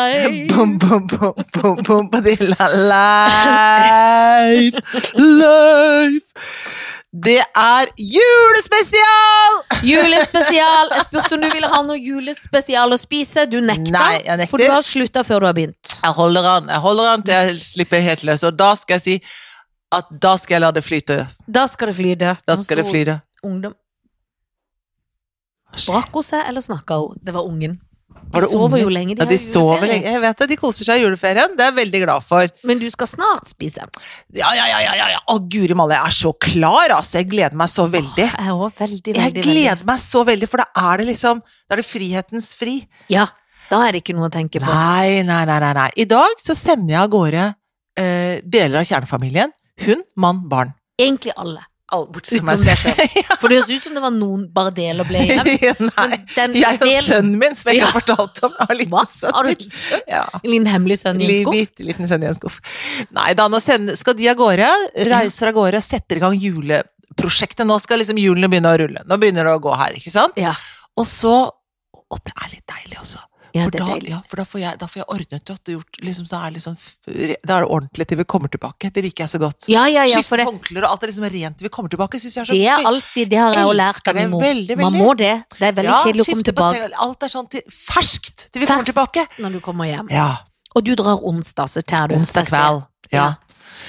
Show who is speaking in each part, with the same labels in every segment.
Speaker 1: Boom, boom, boom, boom, boom, Padilla. Life, life. Det er julespesial!
Speaker 2: Julespesial! Jeg spurte om du ville ha noe julespesial å spise. Du nekta,
Speaker 1: Nei, jeg nekter.
Speaker 2: for du har slutta før du har begynt.
Speaker 1: Jeg holder an, jeg holder an til jeg slipper helt løs. Og da skal jeg si at da skal jeg la det flyte.
Speaker 2: Da skal det flyte. Altså,
Speaker 1: Da skal det flyte.
Speaker 2: Ungdom. Brakk hun seg, eller snakka hun? Det var ungen.
Speaker 1: Var
Speaker 2: De
Speaker 1: det
Speaker 2: sover jo
Speaker 1: ungen?
Speaker 2: lenge. De
Speaker 1: Ja,
Speaker 2: har
Speaker 1: de sover
Speaker 2: juleferie.
Speaker 1: lenge. Jeg vet at de koser seg i juleferien. Det er jeg veldig glad for.
Speaker 2: Men du skal snart spise.
Speaker 1: Ja, ja, ja, ja, ja, ja. Å, guri malla, jeg er så klar, altså. Jeg gleder meg så veldig.
Speaker 2: Jeg er også veldig,
Speaker 1: Jeg
Speaker 2: veldig, veldig.
Speaker 1: gleder meg så veldig, for da er det liksom Da er det frihetens fri.
Speaker 2: Ja, da er det ikke noe å tenke på.
Speaker 1: Nei, nei, nei, nei. nei. I dag så sender jeg av gårde eh, deler av kjernefamilien. Hund, mann, barn.
Speaker 2: Egentlig alle.
Speaker 1: All, bortsett fra
Speaker 2: Utenom
Speaker 1: meg
Speaker 2: deg
Speaker 1: selv.
Speaker 2: selv. For det høres ut som det var noen bare deler ble igjen.
Speaker 1: Nei.
Speaker 2: Men den
Speaker 1: Jeg og
Speaker 2: delen
Speaker 1: sønnen min, som jeg ikke
Speaker 2: Ja.
Speaker 1: har fortalt om. Jeg har
Speaker 2: Hva?
Speaker 1: liten sønn.
Speaker 2: Har du
Speaker 1: min. Ja.
Speaker 2: en liten hemmelig sønn i en
Speaker 1: Liv,
Speaker 2: skuff?
Speaker 1: bitte liten sønn i en skuff. Nei da, nå send- skal de av gårde. Reiser av gårde, setter i gang juleprosjektet. Nå skal liksom hjulene begynne å rulle. Nå begynner det å gå her, ikke sant?
Speaker 2: Ja.
Speaker 1: Og så Og det er litt deilig altså. også.
Speaker 2: ja,
Speaker 1: For,
Speaker 2: det er
Speaker 1: da,
Speaker 2: deilig.
Speaker 1: ja, for da, får jeg, da får jeg ordnet og gjort liksom, da, er det liksom, da er det ordentlig til vi kommer tilbake. Det liker jeg så godt.
Speaker 2: Ja, ja, ja, for
Speaker 1: Skifte
Speaker 2: det,
Speaker 1: håndklær og alt er liksom rent til vi kommer tilbake. Synes jeg er så
Speaker 2: det
Speaker 1: gøy.
Speaker 2: er alltid Det har jeg jo lært
Speaker 1: Elsker
Speaker 2: av min
Speaker 1: det
Speaker 2: mor.
Speaker 1: veldig,
Speaker 2: Man
Speaker 1: veldig.
Speaker 2: må det. Det er veldig
Speaker 1: Ja,
Speaker 2: kjedelig å komme
Speaker 1: skifte på
Speaker 2: tilbake
Speaker 1: seg, alt er sånn til, ferskt til vi kommer
Speaker 2: Ferskt.
Speaker 1: tilbake.
Speaker 2: når du kommer hjem.
Speaker 1: Ja,
Speaker 2: Og du drar onsdag, så tær du onsdag
Speaker 1: onsdag kveld. Ja.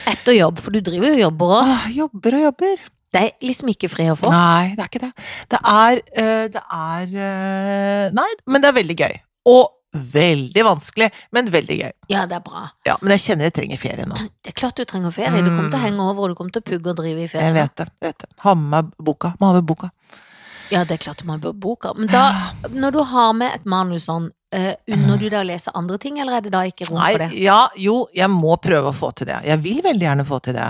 Speaker 2: Etter jobb, for du driver jo og jobber òg.
Speaker 1: Åh, jobber og jobber.
Speaker 2: Det er liksom ikke fred å få.
Speaker 1: Nei, det er ikke det. Det er, eh, det er eh, Nei, men det er veldig gøy. Og veldig vanskelig, men veldig gøy.
Speaker 2: Ja, det er bra.
Speaker 1: Ja, Men jeg kjenner jeg trenger ferie nå.
Speaker 2: Det er klart du trenger ferie. Du kommer til å henge over, og du kommer til å pugge og drive i
Speaker 1: Mm. Jeg
Speaker 2: ferien.
Speaker 1: vet det. jeg vet det. Ha med meg boka. Må ha med boka.
Speaker 2: Ja, det er klart du må ha boka. Men da, når du har med et manus sånn, eh, unner du deg å lese andre ting, eller er det da ikke rom for det?
Speaker 1: ja, jo, jeg må prøve å få til det. Jeg vil veldig gjerne få til det.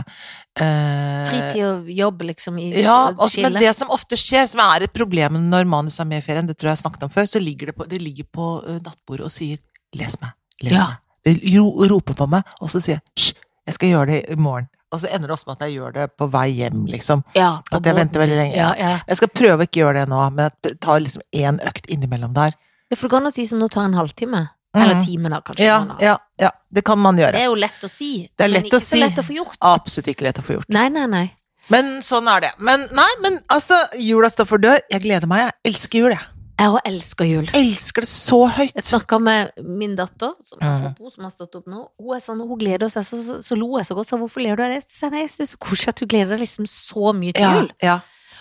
Speaker 1: Eh,
Speaker 2: Fritid og jobb, liksom, i
Speaker 1: Ja, altså, men
Speaker 2: skillet.
Speaker 1: det som ofte skjer, som er et problem når manus er med i ferien, det tror jeg jeg snakket om før, så ligger det på, det ligger på eh, nattbordet og sier 'les meg', 'les
Speaker 2: Ja.
Speaker 1: meg'. Det ro- roper på meg, og så sier jeg 'hysj, jeg skal gjøre det i morgen'. Og så ender det ofte med at jeg gjør det på vei hjem, liksom.
Speaker 2: Ja, på
Speaker 1: At jeg venter
Speaker 2: båten,
Speaker 1: veldig
Speaker 2: liksom.
Speaker 1: lenge.
Speaker 2: Ja, ja.
Speaker 1: Jeg skal prøve å ikke gjøre det nå, men jeg tar liksom én økt innimellom der.
Speaker 2: Ja, For det går an å si som nå tar en halvtime.
Speaker 1: Mhm.
Speaker 2: Eller time, da, kanskje.
Speaker 1: Ja,
Speaker 2: man har.
Speaker 1: ja, ja. Det kan man
Speaker 2: Det
Speaker 1: gjøre.
Speaker 2: er jo lett å si,
Speaker 1: Det er
Speaker 2: men
Speaker 1: lett
Speaker 2: ikke
Speaker 1: å si.
Speaker 2: så lett å få gjort.
Speaker 1: Absolutt ikke lett å få gjort.
Speaker 2: Nei, nei, nei.
Speaker 1: Men sånn er det. Men nei, men altså, jula står for dør. Jeg gleder meg. Jeg elsker jul, jeg.
Speaker 2: Jeg òg elsker jul.
Speaker 1: Elsker det så høyt.
Speaker 2: Jeg snakka med min datter, som,
Speaker 1: Mhm.
Speaker 2: apropos, som har stått opp nå. Hun er sånn, hun gleder seg, så, så, så lo jeg så godt. Så hvorfor ler du av det? Så, sa jeg, nei, jeg syns det er koselig at du gleder deg liksom så mye til
Speaker 1: Ja,
Speaker 2: jul.
Speaker 1: ja.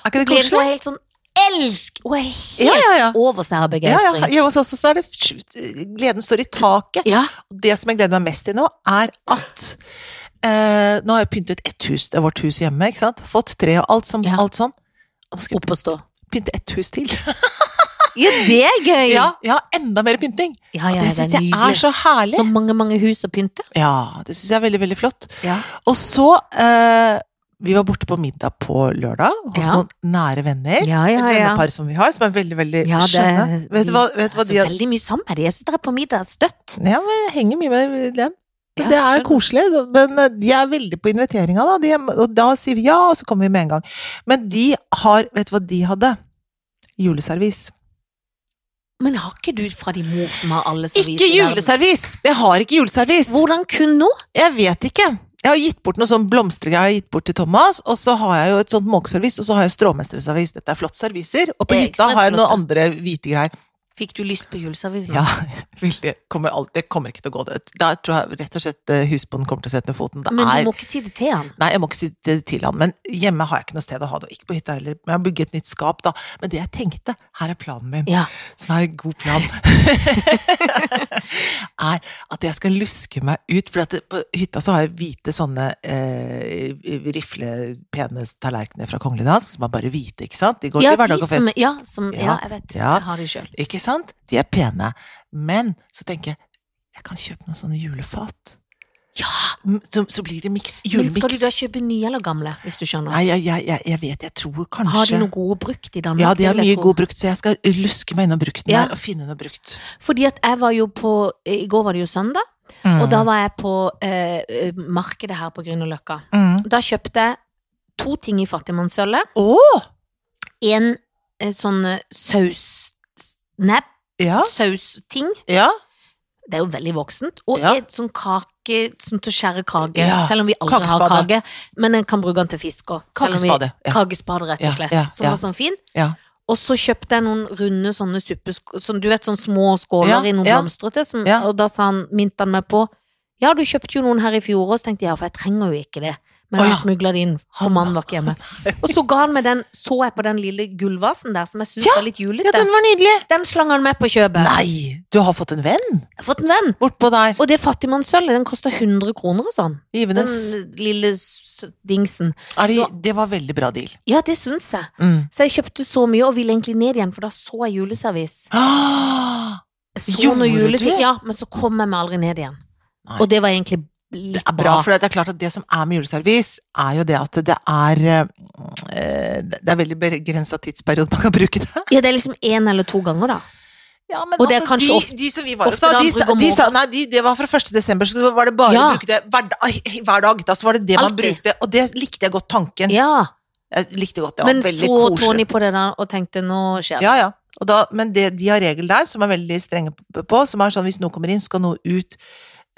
Speaker 1: Er ikke
Speaker 2: Hun
Speaker 1: det
Speaker 2: gleder
Speaker 1: koselig?
Speaker 2: seg helt sånn elsk! Hun er helt
Speaker 1: Ja, ja, ja.
Speaker 2: over seg av
Speaker 1: Ja, ja.
Speaker 2: begeistring. Ja,
Speaker 1: Hjemme hos oss også er det sj- Gleden står i taket. Og det som jeg gleder meg mest til nå, er at eh, Nå har jeg pyntet ett hus, det er vårt hus hjemme, ikke sant? Fått tre og alt, som,
Speaker 2: Ja.
Speaker 1: alt sånn. Og nå skal
Speaker 2: Opp og stå.
Speaker 1: jeg pynte ett hus til.
Speaker 2: Ja, det er gøy!
Speaker 1: Ja, ja enda mer pynting!
Speaker 2: ja,
Speaker 1: Og
Speaker 2: ja,
Speaker 1: det
Speaker 2: det
Speaker 1: syns
Speaker 2: er
Speaker 1: jeg er
Speaker 2: nydelig.
Speaker 1: så herlig.
Speaker 2: Så mange, mange hus å pynte.
Speaker 1: Ja, det syns jeg er veldig, veldig flott.
Speaker 2: Ja.
Speaker 1: Og så eh, Vi var borte på middag på lørdag hos
Speaker 2: Ja.
Speaker 1: noen nære venner.
Speaker 2: Ja,
Speaker 1: Et
Speaker 2: ja, ja.
Speaker 1: vennepar som vi har, som er veldig, veldig
Speaker 2: Ja, det-
Speaker 1: skjønne. Vet du hva, vet du hva
Speaker 2: Så
Speaker 1: de har
Speaker 2: veldig mye sammen med dem. Jeg syns dere er på middag støtt.
Speaker 1: Ja, men jeg henger mye med dem. Men
Speaker 2: Ja,
Speaker 1: det
Speaker 2: skjønner.
Speaker 1: er koselig. Men eh, de er veldig på inviteringa, da. De, og da sier vi ja, og så kommer vi med en gang. Men de har Vet du hva de hadde? Juleservis.
Speaker 2: Men har ikke du fra din mor som har alle serviser?
Speaker 1: Ikke juleservis! Jeg har ikke juleservis!
Speaker 2: Hvordan kun nå?
Speaker 1: Jeg vet ikke. Jeg har gitt bort noe sånn blomstergreier jeg har gitt bort til Thomas, og så har jeg jo et sånt måkeservis, og så har jeg stråmesterservis. Dette er flotte serviser. Og på
Speaker 2: Det er
Speaker 1: hytta
Speaker 2: ekstremt
Speaker 1: har jeg noen
Speaker 2: flotte.
Speaker 1: andre hvite greier.
Speaker 2: Fikk du lyst på juleservice nå?
Speaker 1: Ja, veldig. Kommer alt- det kommer ikke til å gå. Det- Da tror jeg rett og slett eh, husbonden kommer til å sette ned foten. Det
Speaker 2: Men
Speaker 1: er
Speaker 2: du må ikke si det til han.
Speaker 1: Nei, jeg må ikke si det til han, men hjemme har jeg ikke noe sted å ha det. og Ikke på hytta heller, men jeg har bygget et nytt skap, da. Men det jeg tenkte, her er planen min,
Speaker 2: Ja.
Speaker 1: som er en god plan, er at jeg skal luske meg ut. For at det, på hytta så har jeg hvite sånne eh, riflepene tallerkener fra Kongelig Dans, som er bare hvite, ikke sant? De går
Speaker 2: Ja,
Speaker 1: til hverdag og
Speaker 2: som,
Speaker 1: fest.
Speaker 2: ja, som, ja,
Speaker 1: Ja,
Speaker 2: jeg vet.
Speaker 1: ja.
Speaker 2: Jeg har de sjøl.
Speaker 1: Ikke sant? De er pene. Men så tenker jeg, jeg kan kjøpe noen sånne julefat.
Speaker 2: Ja,
Speaker 1: Mm, Så, så blir det miks,
Speaker 2: men skal du da
Speaker 1: julemiks.
Speaker 2: kjøpe nye eller gamle, hvis du skjønner?
Speaker 1: Nei, jeg, jeg, jeg, jeg vet, jeg tror kanskje
Speaker 2: Har de noe gode brukt i Danmark?
Speaker 1: Ja, de
Speaker 2: Det
Speaker 1: har
Speaker 2: vil
Speaker 1: mye
Speaker 2: jeg tro.
Speaker 1: god brukt, så jeg skal luske meg innom brukten
Speaker 2: Ja.
Speaker 1: der og finne noe brukt.
Speaker 2: Fordi at jeg var jo på I går var det jo søndag, og da var jeg på eh, eh, markedet her på Grünerløkka.
Speaker 1: mm.
Speaker 2: Da kjøpte jeg to ting i fattigmannssølvet.
Speaker 1: Åh!
Speaker 2: En eh, sånn eh, saus... Nebb
Speaker 1: Ja,
Speaker 2: sausting
Speaker 1: ja.
Speaker 2: det er jo veldig voksent. Og
Speaker 1: Ja.
Speaker 2: et sånn kake, sånn til å skjære kake.
Speaker 1: Ja.
Speaker 2: Selv om vi aldri har
Speaker 1: Kakespade.
Speaker 2: kake. Men en kan bruke den til fisk òg.
Speaker 1: Kakespade, ja.
Speaker 2: Kakespade, rett
Speaker 1: Ja,
Speaker 2: og slett.
Speaker 1: ja,
Speaker 2: Som
Speaker 1: ja.
Speaker 2: var sånn fin.
Speaker 1: Ja.
Speaker 2: Og så kjøpte jeg noen runde sånne suppesk- sånn, Du vet sånne små skåler
Speaker 1: Ja,
Speaker 2: i noen
Speaker 1: ja.
Speaker 2: blomstrete, som,
Speaker 1: Ja.
Speaker 2: og da sa han, minte han meg på Ja, du kjøpte jo noen her i fjor òg, så tenkte jeg ja, for jeg trenger jo ikke det. Men
Speaker 1: Å,
Speaker 2: jeg
Speaker 1: ja.
Speaker 2: smugla det inn, for mannen var ikke hjemme. Og så ga han meg den, så jeg på den lille gullvasen der, som jeg syns
Speaker 1: Ja,
Speaker 2: var litt julete.
Speaker 1: ja, den
Speaker 2: den
Speaker 1: var nydelig!
Speaker 2: slang han meg på kjøpet.
Speaker 1: Nei, du har fått en venn
Speaker 2: Jeg har fått en venn.
Speaker 1: bortpå der.
Speaker 2: Og det fattigmannssølvet, den kosta 100 kroner og sånn. Den
Speaker 1: Givenes.
Speaker 2: lille s- dingsen.
Speaker 1: Er de, det var veldig bra deal.
Speaker 2: Ja, det syns jeg.
Speaker 1: Mm.
Speaker 2: Så jeg kjøpte så mye, og ville egentlig ned igjen, for da så jeg juleservice.
Speaker 1: Ah,
Speaker 2: Så
Speaker 1: Gjorde
Speaker 2: noen
Speaker 1: du
Speaker 2: juleting,
Speaker 1: det?
Speaker 2: ja, men så kom jeg meg aldri ned igjen.
Speaker 1: Nei.
Speaker 2: Og det var egentlig
Speaker 1: det
Speaker 2: litt
Speaker 1: er bra, for det er klart at det som er med juleservice, er jo det at det er eh, Det er veldig begrensa tidsperiode man kan bruke det.
Speaker 2: Ja, det er liksom én eller to ganger, da.
Speaker 1: Ja, men
Speaker 2: Og det er
Speaker 1: altså,
Speaker 2: kanskje
Speaker 1: de,
Speaker 2: ofte-
Speaker 1: de som vi var hos,
Speaker 2: ofte
Speaker 1: da,
Speaker 2: da
Speaker 1: de,
Speaker 2: bruker
Speaker 1: sa- de
Speaker 2: måned.
Speaker 1: sa Nei, de, det var fra 1. desember, så det var det bare
Speaker 2: Ja.
Speaker 1: å bruke det hver, da- hver dag. Da så var det det man
Speaker 2: Alltid.
Speaker 1: brukte, og det likte jeg godt tanken.
Speaker 2: Ja,
Speaker 1: Jeg likte godt, det var
Speaker 2: Men
Speaker 1: veldig
Speaker 2: så
Speaker 1: koselig.
Speaker 2: Tony på det der og tenkte nå skjer det.
Speaker 1: Ja, ja. Og da, men det, de har regel der som er veldig strenge p- på, som er sånn hvis noe kommer inn, skal noe ut.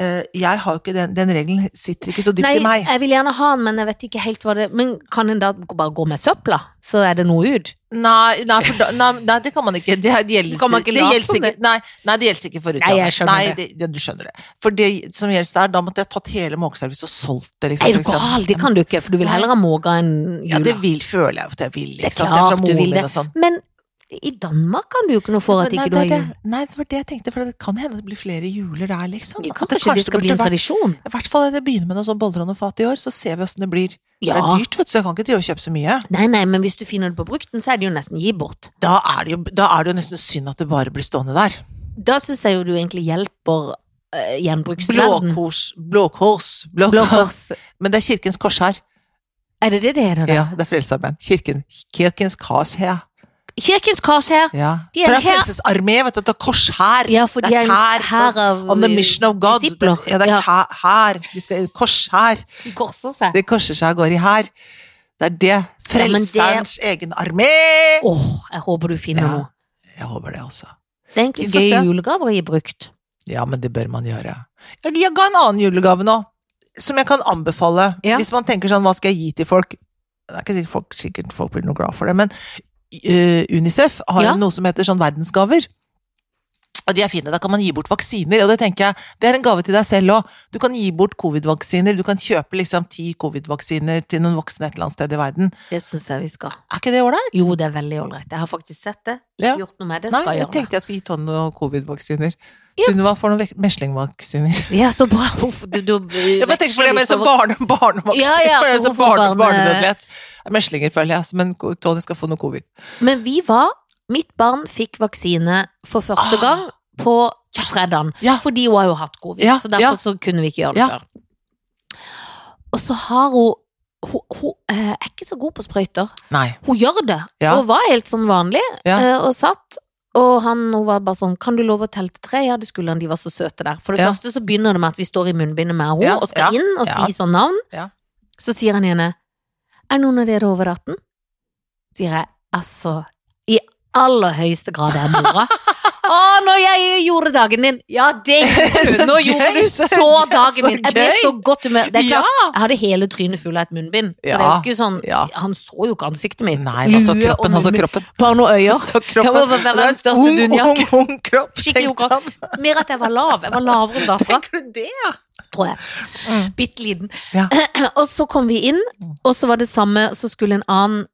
Speaker 1: Eh, jeg har jo ikke den, den regelen sitter ikke så dypt
Speaker 2: Nei,
Speaker 1: i meg.
Speaker 2: jeg vil gjerne ha den, men jeg vet ikke helt hva det Men kan en da bare gå med søpla, så er det noe ut?
Speaker 1: Nei, nei, for da, nei, nei, det kan man ikke. Det, er- det gjelder,
Speaker 2: Kan man ikke
Speaker 1: det
Speaker 2: late
Speaker 1: gjelder
Speaker 2: som
Speaker 1: sikkert,
Speaker 2: det?
Speaker 1: nei, nei, det gjelder sikkert for
Speaker 2: Nei, jeg skjønner
Speaker 1: nei,
Speaker 2: det.
Speaker 1: ja, du skjønner det. For det som gjelder der, da måtte jeg tatt hele måkeservice og solgt det. Liksom,
Speaker 2: Er du
Speaker 1: for eksempel.
Speaker 2: gal? Det kan du ikke, for du vil heller ha måga enn
Speaker 1: Ja, det
Speaker 2: jula.
Speaker 1: vil, føler jeg at jeg vil.
Speaker 2: er
Speaker 1: Ikke sant? Det er
Speaker 2: klart
Speaker 1: fra
Speaker 2: du
Speaker 1: moren
Speaker 2: vil
Speaker 1: min
Speaker 2: det.
Speaker 1: og sånn.
Speaker 2: Men i Danmark kan du jo ikke noe for at ikke
Speaker 1: Men nei,
Speaker 2: du har
Speaker 1: det er
Speaker 2: jul.
Speaker 1: det- Nei, det var det jeg tenkte, for det kan hende det blir flere juler der, liksom.
Speaker 2: Det
Speaker 1: At
Speaker 2: kan
Speaker 1: det
Speaker 2: kanskje det skal bli en
Speaker 1: burde vært-
Speaker 2: tradisjon?
Speaker 1: I hvert fall jeg begynner med noen sånn boller og noe fat i år, så ser vi åssen det blir. For Det
Speaker 2: Ja.
Speaker 1: er dyrt, vet du, så jeg kan ikke drive og kjøpe så mye.
Speaker 2: Nei, nei, men hvis du finner det på brukten, så er det jo nesten gi bort.
Speaker 1: Da er det jo, da er det jo nesten synd at det bare blir stående der.
Speaker 2: Da syns jeg jo du egentlig hjelper uh, gjenbruksverden.
Speaker 1: Blåkors, blåkors, blåkors.
Speaker 2: Blå Kors.
Speaker 1: Men det er Kirkens Kors her.
Speaker 2: Er det det det heter? da?
Speaker 1: Ja, det er Frelsesarmeen. Kirken, kirkens Kors her.
Speaker 2: Kirkens Kors her.
Speaker 1: Ja.
Speaker 2: De er
Speaker 1: For det er
Speaker 2: her.
Speaker 1: Frelsesarmeen, vet du, det er kors her.
Speaker 2: Ja, for de
Speaker 1: Det
Speaker 2: er
Speaker 1: er
Speaker 2: en
Speaker 1: kær
Speaker 2: hær av
Speaker 1: On the mission of God.
Speaker 2: disipler.
Speaker 1: Det- Ja, det er ka- her. De skal kors her.
Speaker 2: de korser seg.
Speaker 1: Det korser seg og går i her. Det er det.
Speaker 2: Ja, men det-
Speaker 1: Frelserens egen armé!
Speaker 2: Åh, jeg håper du finner
Speaker 1: Ja.
Speaker 2: noe.
Speaker 1: Jeg håper det altså.
Speaker 2: Det
Speaker 1: også.
Speaker 2: er egentlig
Speaker 1: Vi får
Speaker 2: gøye
Speaker 1: se.
Speaker 2: julegaver å gi brukt.
Speaker 1: Ja, men det bør man gjøre. Jeg, jeg ga en annen julegave nå, som jeg kan anbefale.
Speaker 2: Ja.
Speaker 1: Hvis man tenker sånn, hva skal jeg gi til folk? Det er ikke sikkert folk, sikkert folk blir noe glad for det, men eh, Unicef har
Speaker 2: Ja.
Speaker 1: jo noe som heter sånn verdensgaver. Og de er fine, da kan man gi bort vaksiner, og det tenker jeg, det er en gave til deg selv òg. Du kan gi bort covid-vaksiner, du kan kjøpe liksom ti covid-vaksiner til noen voksne et eller annet sted i verden.
Speaker 2: Det syns jeg vi skal.
Speaker 1: Er ikke det ålreit?
Speaker 2: Jo, det er veldig ålreit. Jeg har faktisk sett det. Ikke
Speaker 1: Ja.
Speaker 2: gjort noe med det.
Speaker 1: Nei,
Speaker 2: Skal
Speaker 1: jeg
Speaker 2: gjøre det.
Speaker 1: tenkte jeg skulle gi Tonje noen covid-vaksiner.
Speaker 2: Ja.
Speaker 1: Sunniva får noen vek- meslingvaksiner.
Speaker 2: Ja, så bra. Uff, du, du,
Speaker 1: Ja, for jeg tenker for det er
Speaker 2: veksler
Speaker 1: mer sånn
Speaker 2: litt
Speaker 1: barne, barnevaksine,
Speaker 2: Ja, ja,
Speaker 1: for det er
Speaker 2: for
Speaker 1: sånn
Speaker 2: hvorfor eh,
Speaker 1: barne,
Speaker 2: barne-
Speaker 1: barnedødelighet. Meslinger, føler jeg, altså, men ko- Tony skal få noe covid.
Speaker 2: over- Men vi var Mitt barn fikk vaksine for første
Speaker 1: Ah.
Speaker 2: gang på fredagen.
Speaker 1: Ja.
Speaker 2: Fordi hun har jo hatt covid,
Speaker 1: Ja,
Speaker 2: så derfor
Speaker 1: ja.
Speaker 2: så kunne vi ikke gjøre det
Speaker 1: Ja.
Speaker 2: før. Og så har hun hun, hun eh, er ikke så god på sprøyter.
Speaker 1: Nei.
Speaker 2: Hun gjør det,
Speaker 1: Ja.
Speaker 2: og var helt sånn vanlig,
Speaker 1: Ja.
Speaker 2: eh, og satt. Og han hun var bare sånn 'Kan du love å telle til tre?' Ja, det skulle han, de var så søte der. For det
Speaker 1: Ja.
Speaker 2: første så begynner det med at vi står i munnbindet med henne
Speaker 1: Ja,
Speaker 2: og skal
Speaker 1: ja,
Speaker 2: inn og
Speaker 1: ja.
Speaker 2: si sånn navn.
Speaker 1: Ja.
Speaker 2: Så sier han henne 'Er noen av dere over 18?' Sier jeg, altså I aller høyeste grad er mora. Å, når jeg gjorde dagen din! Ja, det gjorde du! Nå
Speaker 1: Så gøy,
Speaker 2: gjorde du
Speaker 1: så-
Speaker 2: så dagen
Speaker 1: så
Speaker 2: din! Jeg ble
Speaker 1: gøy.
Speaker 2: så godt humør. Det er klart,
Speaker 1: Ja!
Speaker 2: jeg hadde hele trynet fullt av et munnbind. Så det er jo
Speaker 1: Ja,
Speaker 2: ikke sånn
Speaker 1: ja.
Speaker 2: Han så jo ikke ansiktet mitt.
Speaker 1: Nei, han så
Speaker 2: Lue og
Speaker 1: kroppen, han så
Speaker 2: munnbind.
Speaker 1: kroppen.
Speaker 2: Bare noen
Speaker 1: Han
Speaker 2: øyer.
Speaker 1: så kroppen.
Speaker 2: Ja, men hva er
Speaker 1: Det er en
Speaker 2: verdens største dunjakke?
Speaker 1: Ung, ung, ung kropp,
Speaker 2: Skikkelig
Speaker 1: tenkte han.
Speaker 2: Mer at jeg var lav. Jeg var lavere enn dattera,
Speaker 1: Tenker du det, ja?
Speaker 2: tror jeg. Bitte liten.
Speaker 1: Ja. Mm.
Speaker 2: Og så kom vi inn, og så var det samme, så skulle en annen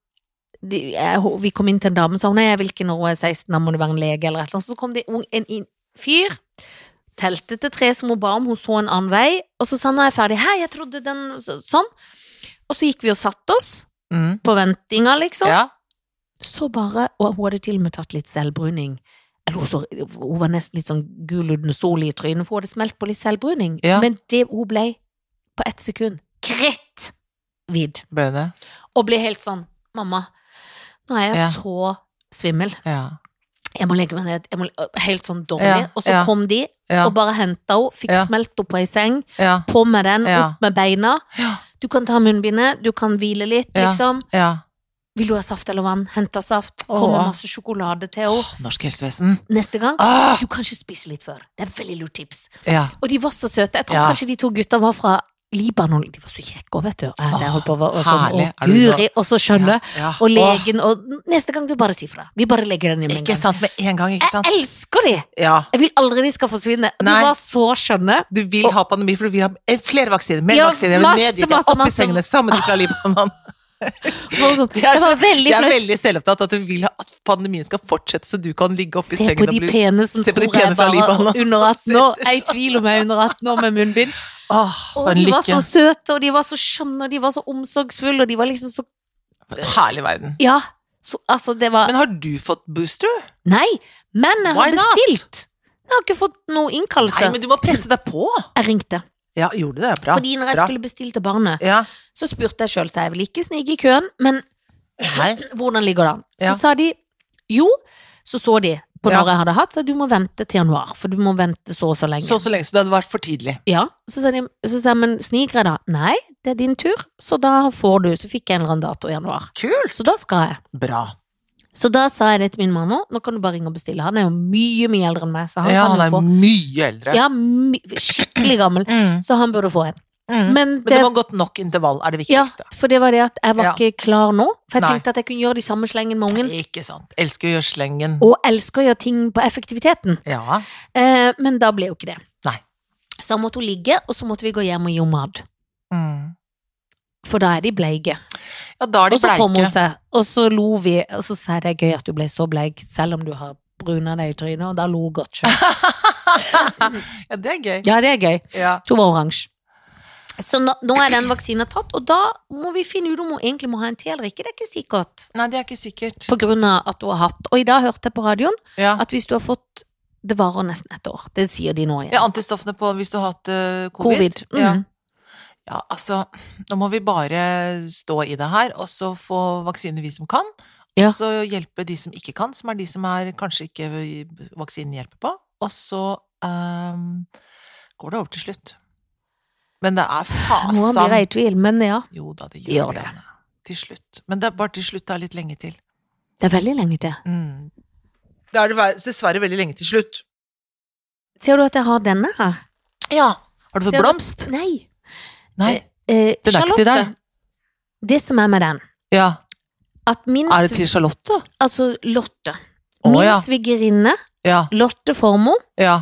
Speaker 2: de, jeg, hun- Vi kom inn til en dame, sa hun nei, jeg vil ikke når hun er 16, da må du være en lege eller et eller annet. Så kom det ung- en inn- fyr, telte til tre som hun ba om, hun så en annen vei, og så sa han nå er jeg ferdig, hei, jeg trodde den så, Sånn. Og så gikk vi og satte oss,
Speaker 1: Mm.
Speaker 2: på ventinga, liksom.
Speaker 1: Ja.
Speaker 2: Så bare, og hun hadde til og med tatt litt selvbruning. Eller hun, så, hun var nesten litt sånn gul uten sol i trynet, for hun hadde smelt på litt selvbruning.
Speaker 1: Ja.
Speaker 2: Men det hun ble, på ett sekund, krett hvit.
Speaker 1: Ble det?
Speaker 2: Og ble helt sånn, mamma, nå er jeg
Speaker 1: Ja.
Speaker 2: så svimmel.
Speaker 1: Ja.
Speaker 2: Jeg må legge meg ned. Jeg må, helt sånn dårlig.
Speaker 1: Ja,
Speaker 2: Og så
Speaker 1: ja.
Speaker 2: kom de
Speaker 1: Ja.
Speaker 2: og bare henta henne, fikk
Speaker 1: Ja.
Speaker 2: smelt henne på ei seng,
Speaker 1: Ja.
Speaker 2: på med den,
Speaker 1: Ja.
Speaker 2: opp med beina.
Speaker 1: Ja.
Speaker 2: Du kan ta munnbindet, du kan hvile litt,
Speaker 1: Ja.
Speaker 2: liksom.
Speaker 1: Ja.
Speaker 2: Vil du ha saft eller vann? Henter saft.
Speaker 1: Åh.
Speaker 2: Kommer masse sjokolade til henne.
Speaker 1: Norsk helsevesen.
Speaker 2: Neste gang
Speaker 1: Ah,
Speaker 2: du kan ikke spise litt før. Det er veldig lurt tips.
Speaker 1: ja.
Speaker 2: Og de var så søte. Jeg tror
Speaker 1: Ja.
Speaker 2: kanskje de to gutta var fra Libanon. De var så kjekke òg, vet du. Eh, det holdt på å være- og sånn,
Speaker 1: herlig.
Speaker 2: og
Speaker 1: Er du da-
Speaker 2: Guri, og så skjønne.
Speaker 1: ja.
Speaker 2: Og legen. Og neste gang du bare sier fra. Vi bare legger den
Speaker 1: Åh,
Speaker 2: hjem en
Speaker 1: Ikke
Speaker 2: gang.
Speaker 1: sant med en gang, ikke sant?
Speaker 2: Jeg elsker de!
Speaker 1: Ja.
Speaker 2: Jeg vil aldri de skal forsvinne. De
Speaker 1: Nei.
Speaker 2: var så skjønne.
Speaker 1: Du vil ha pandemi, for du vil ha eh, flere vaksiner, mer
Speaker 2: Ja,
Speaker 1: vaksiner,
Speaker 2: masse,
Speaker 1: ned dit,
Speaker 2: masse,
Speaker 1: opp i
Speaker 2: masse.
Speaker 1: sengene, sammen fra Libanon.
Speaker 2: Så, så,
Speaker 1: Det er
Speaker 2: jeg var
Speaker 1: så-
Speaker 2: veldig
Speaker 1: Jeg er
Speaker 2: flau.
Speaker 1: veldig selvopptatt at du vil ha at pandemien skal fortsette, så du kan ligge oppe i
Speaker 2: Se
Speaker 1: sengen
Speaker 2: på
Speaker 1: og
Speaker 2: de
Speaker 1: bli
Speaker 2: pene som
Speaker 1: Se på
Speaker 2: tror
Speaker 1: de
Speaker 2: jeg
Speaker 1: pene fra
Speaker 2: er bare
Speaker 1: Libanon altså.
Speaker 2: under 18 år.
Speaker 1: som sitter
Speaker 2: Jeg er i tvil om jeg er under 18 år med munnbind.
Speaker 1: Åh, for
Speaker 2: Og
Speaker 1: en
Speaker 2: de var så
Speaker 1: lykke.
Speaker 2: søte, og de var så skjønne, og de var så omsorgsfulle, og de var liksom så
Speaker 1: For en Herlig verden.
Speaker 2: Ja. Så, altså, det var
Speaker 1: Men har du fått booster?
Speaker 2: Nei, men jeg har
Speaker 1: Why not?
Speaker 2: bestilt. Jeg har ikke fått noe
Speaker 1: Nei,
Speaker 2: innkallelse.
Speaker 1: men du må presse deg på.
Speaker 2: Jeg ringte.
Speaker 1: Ja, gjorde du det? Bra.
Speaker 2: Fordi når jeg
Speaker 1: bra.
Speaker 2: skulle bestille til barnet,
Speaker 1: Ja.
Speaker 2: så spurte jeg sjøl, sa jeg vil ikke snike i køen, men
Speaker 1: Nei.
Speaker 2: hvordan ligger det an? Så
Speaker 1: Ja.
Speaker 2: sa de jo, så så de på
Speaker 1: Ja.
Speaker 2: når jeg hadde hatt, så du må vente til januar, for du må vente så og så lenge.
Speaker 1: Så så lenge, så det hadde vært for tidlig.
Speaker 2: Ja, så sa de, så sa jeg, men sniker jeg da? Nei, det er din tur, så da får du, så fikk jeg en eller annen dato i januar.
Speaker 1: Kult!
Speaker 2: Så da skal jeg.
Speaker 1: Bra.
Speaker 2: Så da sa jeg det til min mann nå, nå kan du bare ringe og bestille. Han er jo mye, mye eldre enn meg, så han
Speaker 1: ja,
Speaker 2: kan
Speaker 1: han
Speaker 2: jo
Speaker 1: er
Speaker 2: få.
Speaker 1: mye eldre.
Speaker 2: Ja, my, skikkelig gammel.
Speaker 1: Mm.
Speaker 2: Så han burde få en.
Speaker 1: Mm. Men,
Speaker 2: Men
Speaker 1: det
Speaker 2: det,
Speaker 1: må gått nok intervall, er det
Speaker 2: ja,
Speaker 1: viktigste.
Speaker 2: for det var det at jeg var
Speaker 1: Ja.
Speaker 2: ikke klar nå. For jeg
Speaker 1: Nei.
Speaker 2: tenkte at jeg kunne gjøre de samme slengen med ungen.
Speaker 1: Ikke sant. Elsker å gjøre slengen.
Speaker 2: Og elsker å gjøre ting på effektiviteten.
Speaker 1: Ja.
Speaker 2: Eh, men da ble jo ikke det.
Speaker 1: Nei.
Speaker 2: Så da måtte hun ligge, og så måtte vi gå hjem og gi henne mat.
Speaker 1: Mm.
Speaker 2: For da er de bleike.
Speaker 1: Ja, da er
Speaker 2: Og
Speaker 1: de
Speaker 2: så kom hun
Speaker 1: bleike.
Speaker 2: seg, og så lo vi, og så sa jeg det er gøy at du ble så bleik, selv om du har bruna deg i trynet, og da lo hun godt sjøl.
Speaker 1: ja, det er gøy.
Speaker 2: Ja, det er gøy.
Speaker 1: Ja.
Speaker 2: Hun var oransje. Så nå, nå er den vaksinen tatt, og da må vi finne ut om hun egentlig må ha en til eller ikke. Det er ikke sikkert.
Speaker 1: Nei, det er ikke sikkert.
Speaker 2: På grunn av at hun har hatt Og i dag hørte jeg på radioen
Speaker 1: Ja.
Speaker 2: at hvis du har fått Det varer nesten et år. Det sier de nå igjen.
Speaker 1: ja, antistoffene på hvis du har hatt eh, covid.
Speaker 2: Covid. Mm.
Speaker 1: Ja. Ja, altså, nå må vi bare stå i det her, og så få vaksiner vi som kan.
Speaker 2: Ja.
Speaker 1: Og så hjelpe de som ikke kan, som er de som er kanskje ikke vaksinen hjelper på. Og så ehm, går det over til slutt. Men det er
Speaker 2: Nå blir
Speaker 1: fasen
Speaker 2: jeg i tvil, men ja.
Speaker 1: Jo da, det gjør,
Speaker 2: gjør
Speaker 1: det.
Speaker 2: det.
Speaker 1: Anne. Til slutt. Men det er bare til slutt. Det er litt lenge til.
Speaker 2: Det er veldig lenge til.
Speaker 1: Mm. Det er dessverre- dessverre veldig lenge til slutt.
Speaker 2: Ser du at jeg har denne her?
Speaker 1: Ja. Har du
Speaker 2: Ser
Speaker 1: fått
Speaker 2: du-
Speaker 1: blomst?
Speaker 2: Nei.
Speaker 1: Nei.
Speaker 2: Eh,
Speaker 1: Den er ikke til
Speaker 2: Charlotte, Det som er med den,
Speaker 1: Ja.
Speaker 2: at min
Speaker 1: Er det
Speaker 2: sv-
Speaker 1: til Charlotte?
Speaker 2: Altså Lotte.
Speaker 1: Å
Speaker 2: min
Speaker 1: ja.
Speaker 2: svigerinne,
Speaker 1: Ja.
Speaker 2: Lotte Formoe,
Speaker 1: Ja.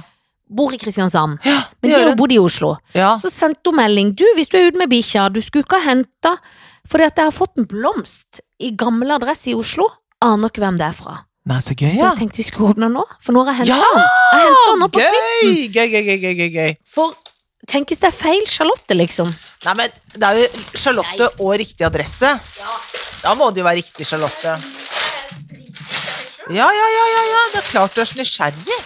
Speaker 2: bor i Kristiansand.
Speaker 1: ja.
Speaker 2: Men
Speaker 1: Det
Speaker 2: de har
Speaker 1: gjør
Speaker 2: jo
Speaker 1: hun.
Speaker 2: bodd i Oslo.
Speaker 1: Ja.
Speaker 2: Ah. Så sendte hun melding. Du, hvis du er ute med bikkja, du skulle ikke ha henta Fordi at jeg har fått en blomst i gammel adresse i Oslo. Aner ikke hvem det er fra.
Speaker 1: Nei, så gøy,
Speaker 2: Så
Speaker 1: ja.
Speaker 2: jeg tenkte vi skulle åpne den nå, for nå har jeg henta
Speaker 1: Ja!
Speaker 2: den. Jeg hentet den nå på kvisten.
Speaker 1: Gøy! Gøy, gøy, gøy, gøy, gøy, gøy.
Speaker 2: For tenk hvis det er feil Charlotte, liksom.
Speaker 1: Nei, men det er jo Charlotte og riktig adresse.
Speaker 2: Ja.
Speaker 1: Da må det jo være riktig, Charlotte. Ja, ja, ja, ja, ja. det er klart du er så nysgjerrig.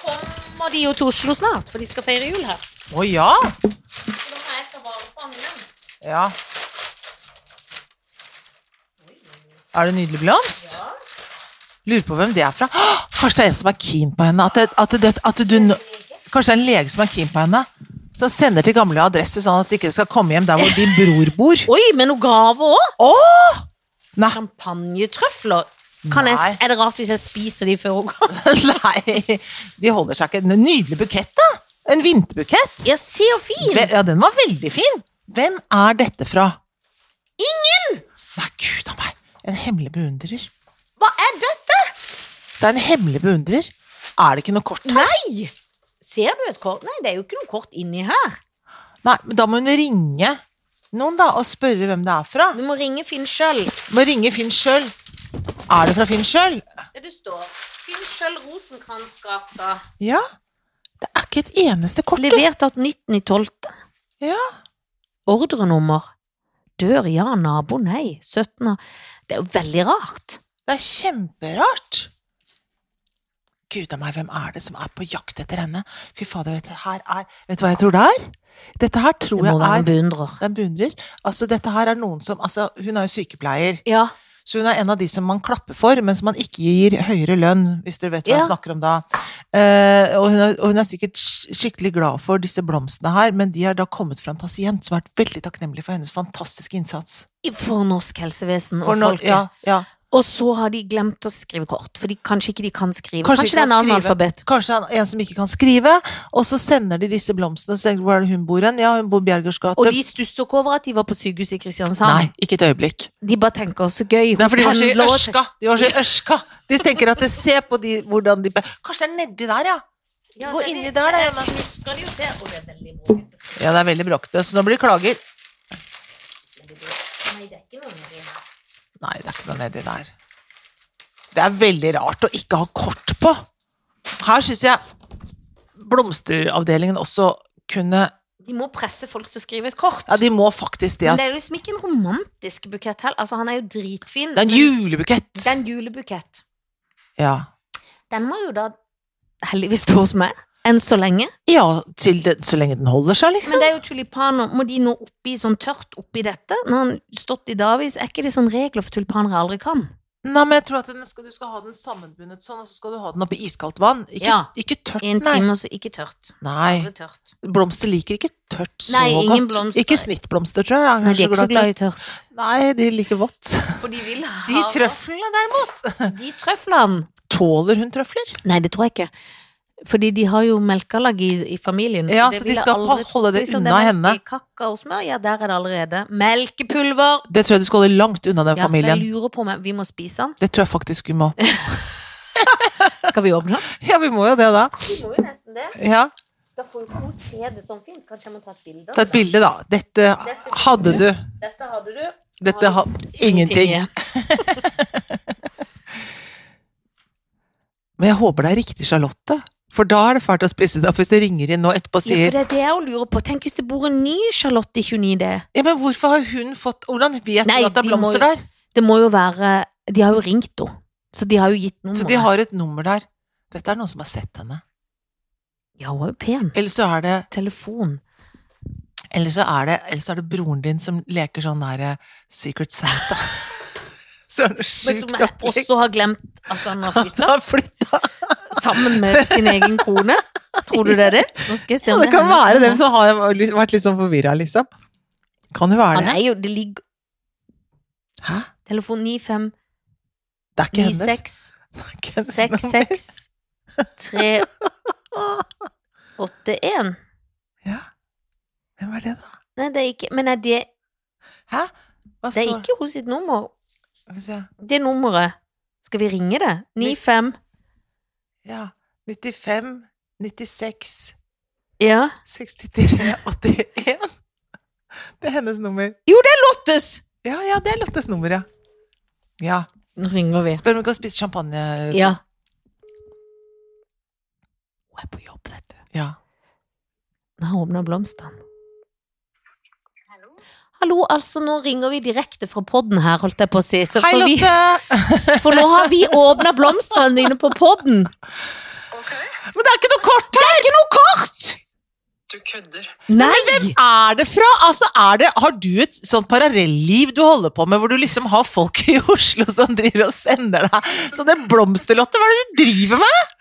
Speaker 2: Så kommer de jo til Oslo snart, for de skal feire jul her.
Speaker 1: Å ja.
Speaker 2: Så da må jeg ta vare på den imens.
Speaker 1: ja. Er det en nydelig blomst? Lurer på hvem det er fra. Åh, Kanskje det er en som er keen på henne? At, det, at, det, at du nå- Kanskje det er en lege som er keen på henne? Som sender til gamle adresse, sånn at de ikke skal komme hjem der hvor din bror bor.
Speaker 2: Oi, med noen gaver òg!
Speaker 1: Åh! Nei.
Speaker 2: Champagnetrøfler. Kan jeg,
Speaker 1: Nei.
Speaker 2: er det rart hvis jeg spiser de før hun går?
Speaker 1: Nei, de holder seg ikke. En nydelig bukett, da. En vinterbukett.
Speaker 2: Ja, se hvor fin!
Speaker 1: Ve- Ja, den var veldig fin. Hvem er dette fra? Ingen! Nei, gud a meg. En hemmelig beundrer.
Speaker 2: Hva er dette?
Speaker 1: Det er en hemmelig beundrer. Er det ikke noe kort her?
Speaker 2: Nei! Ser du et kort? Nei, det er jo ikke noe kort inni her.
Speaker 1: Nei, men da må hun ringe noen, da, og spørre hvem det er fra.
Speaker 2: Vi må ringe Finn sjøl.
Speaker 1: Må ringe Finn sjøl. Er det fra Finn sjøl?
Speaker 2: Det det står. Finn sjøl Rosenkransgata.
Speaker 1: Ja. Det er ikke et eneste kort. du.
Speaker 2: Levert av 19.12.
Speaker 1: Ja.
Speaker 2: Ordrenummer. Dør ja, nabo nei. 17 av Det er jo veldig rart.
Speaker 1: Det er kjemperart. Gud a meg, hvem er det som er på jakt etter henne? Fy fader, dette her er Vet du hva jeg tror det er? Dette her
Speaker 2: Det
Speaker 1: tror
Speaker 2: må
Speaker 1: jeg
Speaker 2: være en
Speaker 1: er
Speaker 2: beundrer.
Speaker 1: Den beundrer. Altså, dette her er noen som Altså, hun er jo sykepleier,
Speaker 2: Ja.
Speaker 1: Så hun er en av de som man klapper for, men som man ikke gir høyere lønn, hvis dere vet hva jeg
Speaker 2: Ja.
Speaker 1: snakker om da. Eh, og, hun er, og hun er sikkert sk- skikkelig glad for disse blomstene her, men de har da kommet fra en pasient som har vært veldig takknemlig for hennes fantastiske innsats.
Speaker 2: For norsk helsevesen og
Speaker 1: For nå-
Speaker 2: folket.
Speaker 1: ja, ja.
Speaker 2: Og så har de glemt å skrive kort, for de, kanskje ikke de kan skrive.
Speaker 1: Kanskje
Speaker 2: Kanskje,
Speaker 1: ikke
Speaker 2: det er en
Speaker 1: kan
Speaker 2: annen
Speaker 1: skrive.
Speaker 2: alfabet.
Speaker 1: Kanskje han- en som ikke kan skrive, og så sender de disse blomstene. Så tenker jeg, hvor er det hun bor hen? Ja, hun bor i Bjergårds gate.
Speaker 2: Og de stusser ikke over at de var på sykehuset i Kristiansand.
Speaker 1: Nei, ikke et øyeblikk.
Speaker 2: De bare tenker 'så gøy'.
Speaker 1: Nei, for de var så i
Speaker 2: pendler over til-
Speaker 1: ørska. De var så i ørska. De tenker at det, Se på de, hvordan de Kanskje det er nedi der, ja.
Speaker 2: Ja,
Speaker 1: Gå
Speaker 2: det er
Speaker 1: inni
Speaker 2: det.
Speaker 1: der, da,
Speaker 2: Jeg
Speaker 1: Emma.
Speaker 2: husker det jo til, og det er veldig bråkete.
Speaker 1: Ja, det er veldig bråkete, så nå blir det klager.
Speaker 2: Nei, det er ikke noe nedi her.
Speaker 1: Nei, det er ikke noe nedi der. Det er veldig rart å ikke ha kort på. Her syns jeg blomsteravdelingen også kunne
Speaker 2: De må presse folk til å skrive et kort.
Speaker 1: Ja, de må faktisk det.
Speaker 2: Men
Speaker 1: ass.
Speaker 2: det er jo liksom ikke en romantisk bukett heller. Altså, han er jo dritfin.
Speaker 1: Det er en
Speaker 2: men
Speaker 1: julebukett!
Speaker 2: det er en julebukett.
Speaker 1: Ja.
Speaker 2: Den må jo da heldigvis stå hos meg. Enn så lenge.
Speaker 1: ja til det, så lenge den holder seg, liksom.
Speaker 2: Men det er jo tulipaner. Må de nå oppi sånn tørt oppi dette? Når han stått i davis, er ikke det sånn regler for tulipaner jeg aldri kan?
Speaker 1: Nei, men jeg tror at den skal, du skal ha den sammenbundet sånn, og så skal du ha den oppi iskaldt vann. Ikke,
Speaker 2: Ja.
Speaker 1: ikke tørt,
Speaker 2: I en
Speaker 1: nei.
Speaker 2: time, og så ikke tørt.
Speaker 1: Nei.
Speaker 2: Aldri tørt.
Speaker 1: Blomster liker ikke tørt så
Speaker 2: Nei, ingen
Speaker 1: godt.
Speaker 2: blomster.
Speaker 1: Ikke snittblomster, tror jeg.
Speaker 2: Nei, de er ikke så glad
Speaker 1: i
Speaker 2: i tørt.
Speaker 1: Nei, de liker vått.
Speaker 2: For de vil ha
Speaker 1: De trøflene, derimot!
Speaker 2: De trøflene.
Speaker 1: Tåler hun trøfler?
Speaker 2: Nei, det tror jeg ikke. Fordi de har jo melkeallergi i familien.
Speaker 1: Ja,
Speaker 2: det
Speaker 1: så de
Speaker 2: vil jeg
Speaker 1: skal
Speaker 2: aldri-
Speaker 1: pa- holde det
Speaker 2: Liksom,
Speaker 1: unna
Speaker 2: er
Speaker 1: henne.
Speaker 2: melk i Kakaosmør, ja, der er det allerede. Melkepulver!
Speaker 1: Det tror jeg du skal holde langt unna
Speaker 2: Ja,
Speaker 1: den
Speaker 2: så jeg
Speaker 1: familien.
Speaker 2: lurer på om jeg- vi må spise den.
Speaker 1: Det tror jeg faktisk vi må.
Speaker 2: Skal vi åpne den?
Speaker 1: Ja, vi må jo det, da.
Speaker 2: Vi må jo nesten det.
Speaker 1: Ja,
Speaker 2: Da får jo ikke hun se det sånn fint. Kanskje jeg må ta et bilde?
Speaker 1: Ta et bilde, da. Dette hadde du.
Speaker 2: Dette hadde du.
Speaker 1: Dette har Ingenting. Men jeg håper det er riktig Charlotte. For da er det fælt å spise det opp hvis det ringer inn nå etterpå og
Speaker 2: Ja, for
Speaker 1: sier
Speaker 2: det er det jeg lurer på. Tenk hvis det bor en ny Charlotte i 29D.
Speaker 1: Ja, men hvorfor har hun fått Hvordan vet
Speaker 2: Nei,
Speaker 1: hun at det er
Speaker 2: de må
Speaker 1: blomster
Speaker 2: jo-
Speaker 1: der?
Speaker 2: Det må jo være De har jo ringt henne. Så de har jo gitt nummeret.
Speaker 1: Så de har et nummer der. Dette er noen som har sett henne.
Speaker 2: Ja, hun er jo pen.
Speaker 1: Eller så er det,
Speaker 2: Telefon.
Speaker 1: eller så er det, eller så er det broren din som leker sånn der eh, Secret Santa. så er det noe
Speaker 2: Men som
Speaker 1: sjukt
Speaker 2: jeg
Speaker 1: opplegg.
Speaker 2: også har glemt at han har
Speaker 1: Han
Speaker 2: flytta.
Speaker 1: har flytta.
Speaker 2: Sammen med sin egen kone. Tror du det er det? Nå skal jeg sånn. se
Speaker 1: Ja,
Speaker 2: om
Speaker 1: det kan
Speaker 2: hennes
Speaker 1: være det,
Speaker 2: nummer.
Speaker 1: så har jeg vært litt- vært litt sånn forvirra, liksom. Kan jo være
Speaker 2: Han
Speaker 1: det.
Speaker 2: er jo Det ligger
Speaker 1: Hæ?
Speaker 2: telefon 95
Speaker 1: Det er ikke hennes.
Speaker 2: 96
Speaker 1: Det er ikke hennes nummer.
Speaker 2: 66 381.
Speaker 1: Hvem er det, da?
Speaker 2: Nei, det er ikke Men er det,
Speaker 1: Hæ? Hva
Speaker 2: det er
Speaker 1: står
Speaker 2: ikke hos sitt nummer.
Speaker 1: Skal vi se.
Speaker 2: Det nummeret Skal vi ringe det? 95
Speaker 1: Ja. 95, 96,
Speaker 2: Ja.
Speaker 1: 63, 81. Det er hennes nummer.
Speaker 2: Lottes!
Speaker 1: Ja, ja, det er Lottes nummer, ja. Ja.
Speaker 2: Nå ringer vi.
Speaker 1: Spør om vi kan spise champagne.
Speaker 2: Ja. Hun er på jobb, vet du.
Speaker 1: Ja.
Speaker 2: Nå har hun åpna blomstene.
Speaker 3: Hallo?
Speaker 2: Hallo, altså, nå ringer vi direkte fra podden her, holdt jeg på å si. Så
Speaker 1: Hei,
Speaker 2: for, vi,
Speaker 1: Lotte!
Speaker 2: for nå har vi åpna blomstene dine på podden.
Speaker 3: Ok,
Speaker 1: Men det er ikke noe kort her! Det er ikke noe kort!
Speaker 3: du kødder.
Speaker 2: Nei!
Speaker 1: Er det fra? Altså, er det, har du et sånt parallelliv du holder på med, hvor du liksom har folk i Oslo som driver og sender deg sånne blomsterlotter? Hva er det du driver med?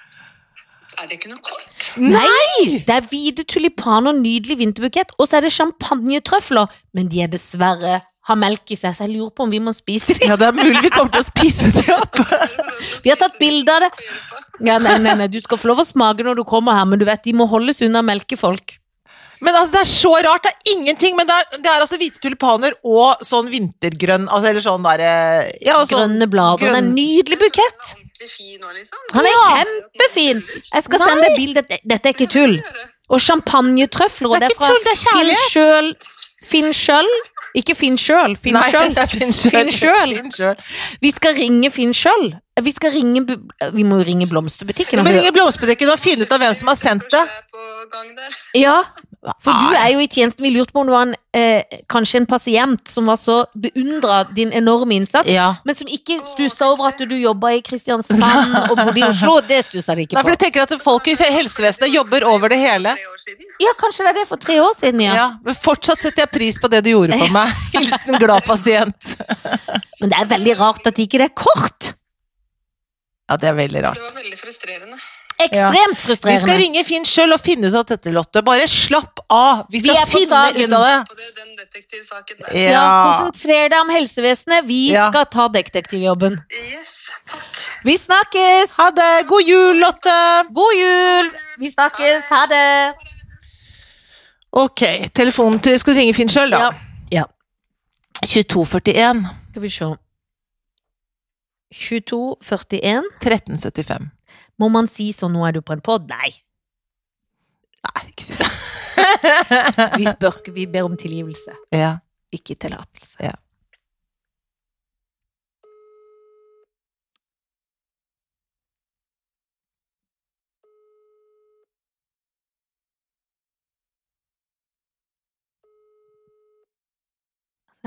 Speaker 3: Er det ikke noe kort?
Speaker 2: Det er hvite tulipaner, nydelig vinterbukett, og så er det champagnetrøfler. Men de er dessverre har melk i seg, så jeg lurer på om vi må spise dem.
Speaker 1: Ja, det er mulig vi kommer til å spise det opp.
Speaker 2: Vi har tatt bilde av det. Ja, nei, nei, nei, du skal få lov å smake når du kommer her, men du vet, de må holdes unna melkefolk.
Speaker 1: Men altså, det er så rart. Det er ingenting. Men det er, det er altså hvite tulipaner og sånn vintergrønn altså, Eller sånn derre ja, sånn,
Speaker 2: Grønne blader. Det er en
Speaker 1: grønn-
Speaker 2: nydelig bukett.
Speaker 3: Ordentlig fin nå, liksom.
Speaker 2: Han er
Speaker 3: Ja.
Speaker 2: kjempefin. Jeg skal sende deg bilde. Dette- Dette er ikke tull. Og champagnetrøfler, og
Speaker 1: Det er
Speaker 2: det er
Speaker 1: ikke
Speaker 2: fra
Speaker 1: tull, det er
Speaker 2: Finn
Speaker 1: kjærlighet.
Speaker 2: sjøl Finn sjøl? Ikke Finn sjøl, Finn
Speaker 1: Nei,
Speaker 2: sjøl.
Speaker 1: det er Finn sjøl.
Speaker 2: Finn sjøl.
Speaker 1: Finn sjøl.
Speaker 2: Vi skal ringe Finn sjøl. Vi skal ringe bu- Vi må jo ringe blomsterbutikken.
Speaker 1: Vi
Speaker 2: og
Speaker 1: må
Speaker 2: høre-
Speaker 1: ringe blomsterbutikken og finne ut av hvem som har sendt det.
Speaker 3: Først er jeg på gang der.
Speaker 2: Ja, for du
Speaker 1: Nei.
Speaker 2: er jo i tjenesten. Vi lurte på om det var en, eh, kanskje en pasient som var så beundra din enorme innsats.
Speaker 1: ja.
Speaker 2: Men som ikke stussa over at du jobba i Kristiansand og bodde i Oslo. Det stussa de ikke
Speaker 1: Nei, for jeg
Speaker 2: på.
Speaker 1: tenker at folk i helsevesenet jobber over det hele.
Speaker 3: Tre år siden.
Speaker 2: Ja, kanskje det er det for tre år siden, ja.
Speaker 1: Ja, men fortsatt setter jeg pris på det du gjorde for meg. Hilsen glad pasient.
Speaker 2: Men det er veldig rart at ikke det er kort.
Speaker 1: Ja, det er veldig rart.
Speaker 3: Det var veldig frustrerende.
Speaker 2: Ekstremt
Speaker 1: Vi skal
Speaker 2: frustrerende.
Speaker 1: ringe Finn sjøl og finne ut av dette, Lotte. Bare slapp av! Vi skal
Speaker 2: Vi er på
Speaker 1: finne
Speaker 2: saken.
Speaker 1: ut av det.
Speaker 3: På det, den detektivsaken der.
Speaker 1: Ja.
Speaker 2: Ja, konsentrer deg om helsevesenet. Vi
Speaker 1: Ja.
Speaker 2: skal ta detektivjobben.
Speaker 3: Yes, takk.
Speaker 2: Vi snakkes!
Speaker 1: Ha det! God jul, Lotte!
Speaker 2: God jul! Vi snakkes. Ha det!
Speaker 1: Ok, telefonen til Skal du ringe Finn sjøl, da?
Speaker 2: Ja. Ja.
Speaker 1: 2241
Speaker 2: Skal vi se. 22.41.
Speaker 1: 1375.
Speaker 2: Må man si så nå er du på en pod? Nei.
Speaker 1: Nei, ikke si det.
Speaker 2: Vi spør ikke, vi ber om tilgivelse,
Speaker 1: Ja.
Speaker 2: ikke tillatelse.
Speaker 1: Ja.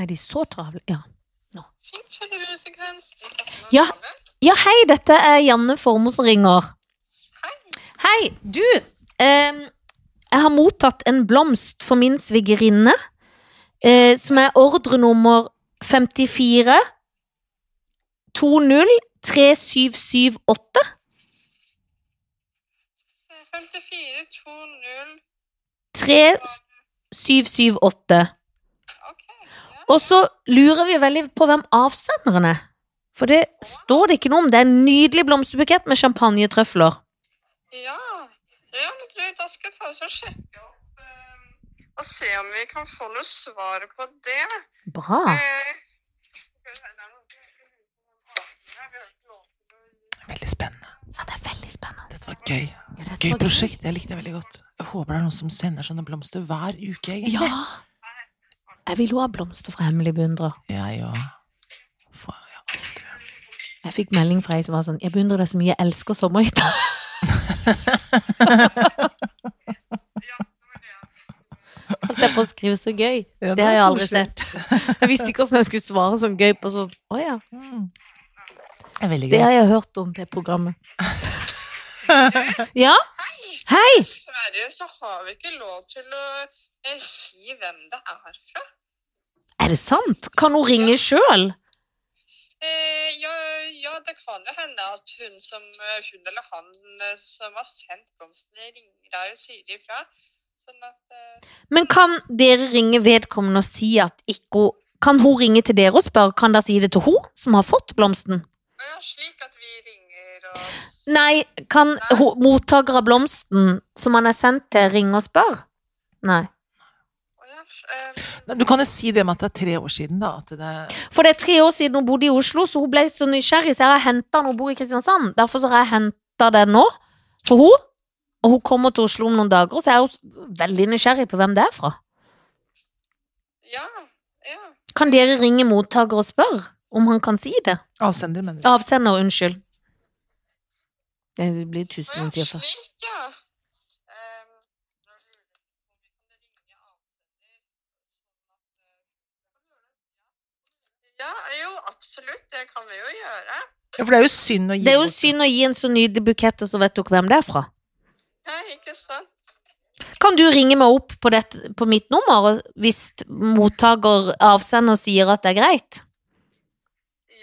Speaker 2: Er de så travle? Ja.
Speaker 3: Kjøresekvens.
Speaker 2: Ja. Ja, hei, dette er Janne Formoe som ringer. Hei, du. ehm, jeg har mottatt en blomst for min svigerinne, eh, som er ordrenummer 54 20 3778.
Speaker 3: 54, 20,
Speaker 2: 3778.
Speaker 3: ok. Ja.
Speaker 2: Og så lurer vi veldig på hvem avsenderen er. For det står det ikke noe om. Det er en nydelig blomsterbukett med champagnetrøfler.
Speaker 3: Ja, ja men du, da skal jeg ta oss og sjekke opp eh, og se om vi kan få noe svar på det.
Speaker 2: Bra.
Speaker 3: Eh, skal vi se, det er noe-
Speaker 1: Veldig spennende.
Speaker 2: Ja, det er veldig spennende.
Speaker 1: Dette var gøy.
Speaker 2: Ja, dette
Speaker 1: Gøy
Speaker 2: var
Speaker 1: prosjekt. Jeg likte det veldig godt. Jeg håper det er noen som sender sånne blomster hver uke, egentlig.
Speaker 2: Ja. Jeg vil jo ha blomster fra hemmelig beundrer.
Speaker 1: Jeg òg. Faen, ja.
Speaker 2: Jeg fikk melding fra ei som var sånn Jeg beundrer deg så mye, jeg elsker sommerhytta.
Speaker 3: Ja, det var det.
Speaker 2: Holdt jeg på å skrive så gøy.
Speaker 1: Ja,
Speaker 2: Det har jeg aldri
Speaker 1: koselig.
Speaker 2: sett. Jeg visste ikke hvordan jeg skulle svare sånn gøy på sånn. Å ja.
Speaker 1: Mm. Det er veldig gøy.
Speaker 2: Det har jeg hørt om, det programmet. Ja? Hei!
Speaker 3: Dessverre så har vi ikke lov til å eh, si hvem det er fra.
Speaker 2: Er det sant? Kan hun ringe sjøl?
Speaker 3: Eh, ja, ja, det kan jo hende at hun, som, eh, hun eller han eh, som har sendt blomstene, ringer deg og sier ifra. Sånn at eh,
Speaker 2: Men kan dere ringe vedkommende og si at ikke hun Kan hun ringe til dere og spørre Kan dere si det til hun som har fått blomsten?
Speaker 3: ja, Slik at vi ringer og
Speaker 2: Nei, kan hun- mottaker av blomsten som han er sendt til, ringe og spørre? Nei.
Speaker 3: Å ja, eh,
Speaker 1: Nei, Du kan jo si det med at det er tre år siden, da. At det
Speaker 2: For det er tre år siden hun bodde i Oslo, så hun ble så nysgjerrig, så jeg har henta den. Hun bor i Kristiansand. Derfor så har jeg henta den nå for hun Og hun kommer til Oslo om noen dager, og så er hun s- veldig nysgjerrig på hvem det er fra.
Speaker 3: ja, ja.
Speaker 2: Kan dere ringe mottaker og spørre om han kan si det?
Speaker 1: Avsender, mener du?
Speaker 2: Avsender, unnskyld. Det blir
Speaker 3: Å ja,
Speaker 2: tusen sier for.
Speaker 3: slik, ja. Eh, da lurer jeg på om vi kan ringe avsender, sånn at, eh, Ja, jo, absolutt. Det kan vi jo gjøre.
Speaker 1: Ja, for det er jo synd å gi
Speaker 2: Det er jo
Speaker 1: bort.
Speaker 2: synd å gi en så nydelig bukett, og så vet du ikke hvem det er fra.
Speaker 3: Ja, ikke sant?
Speaker 2: Kan du ringe meg opp på, dette, på mitt nummer og- hvis mottaker avsender sier at det er greit?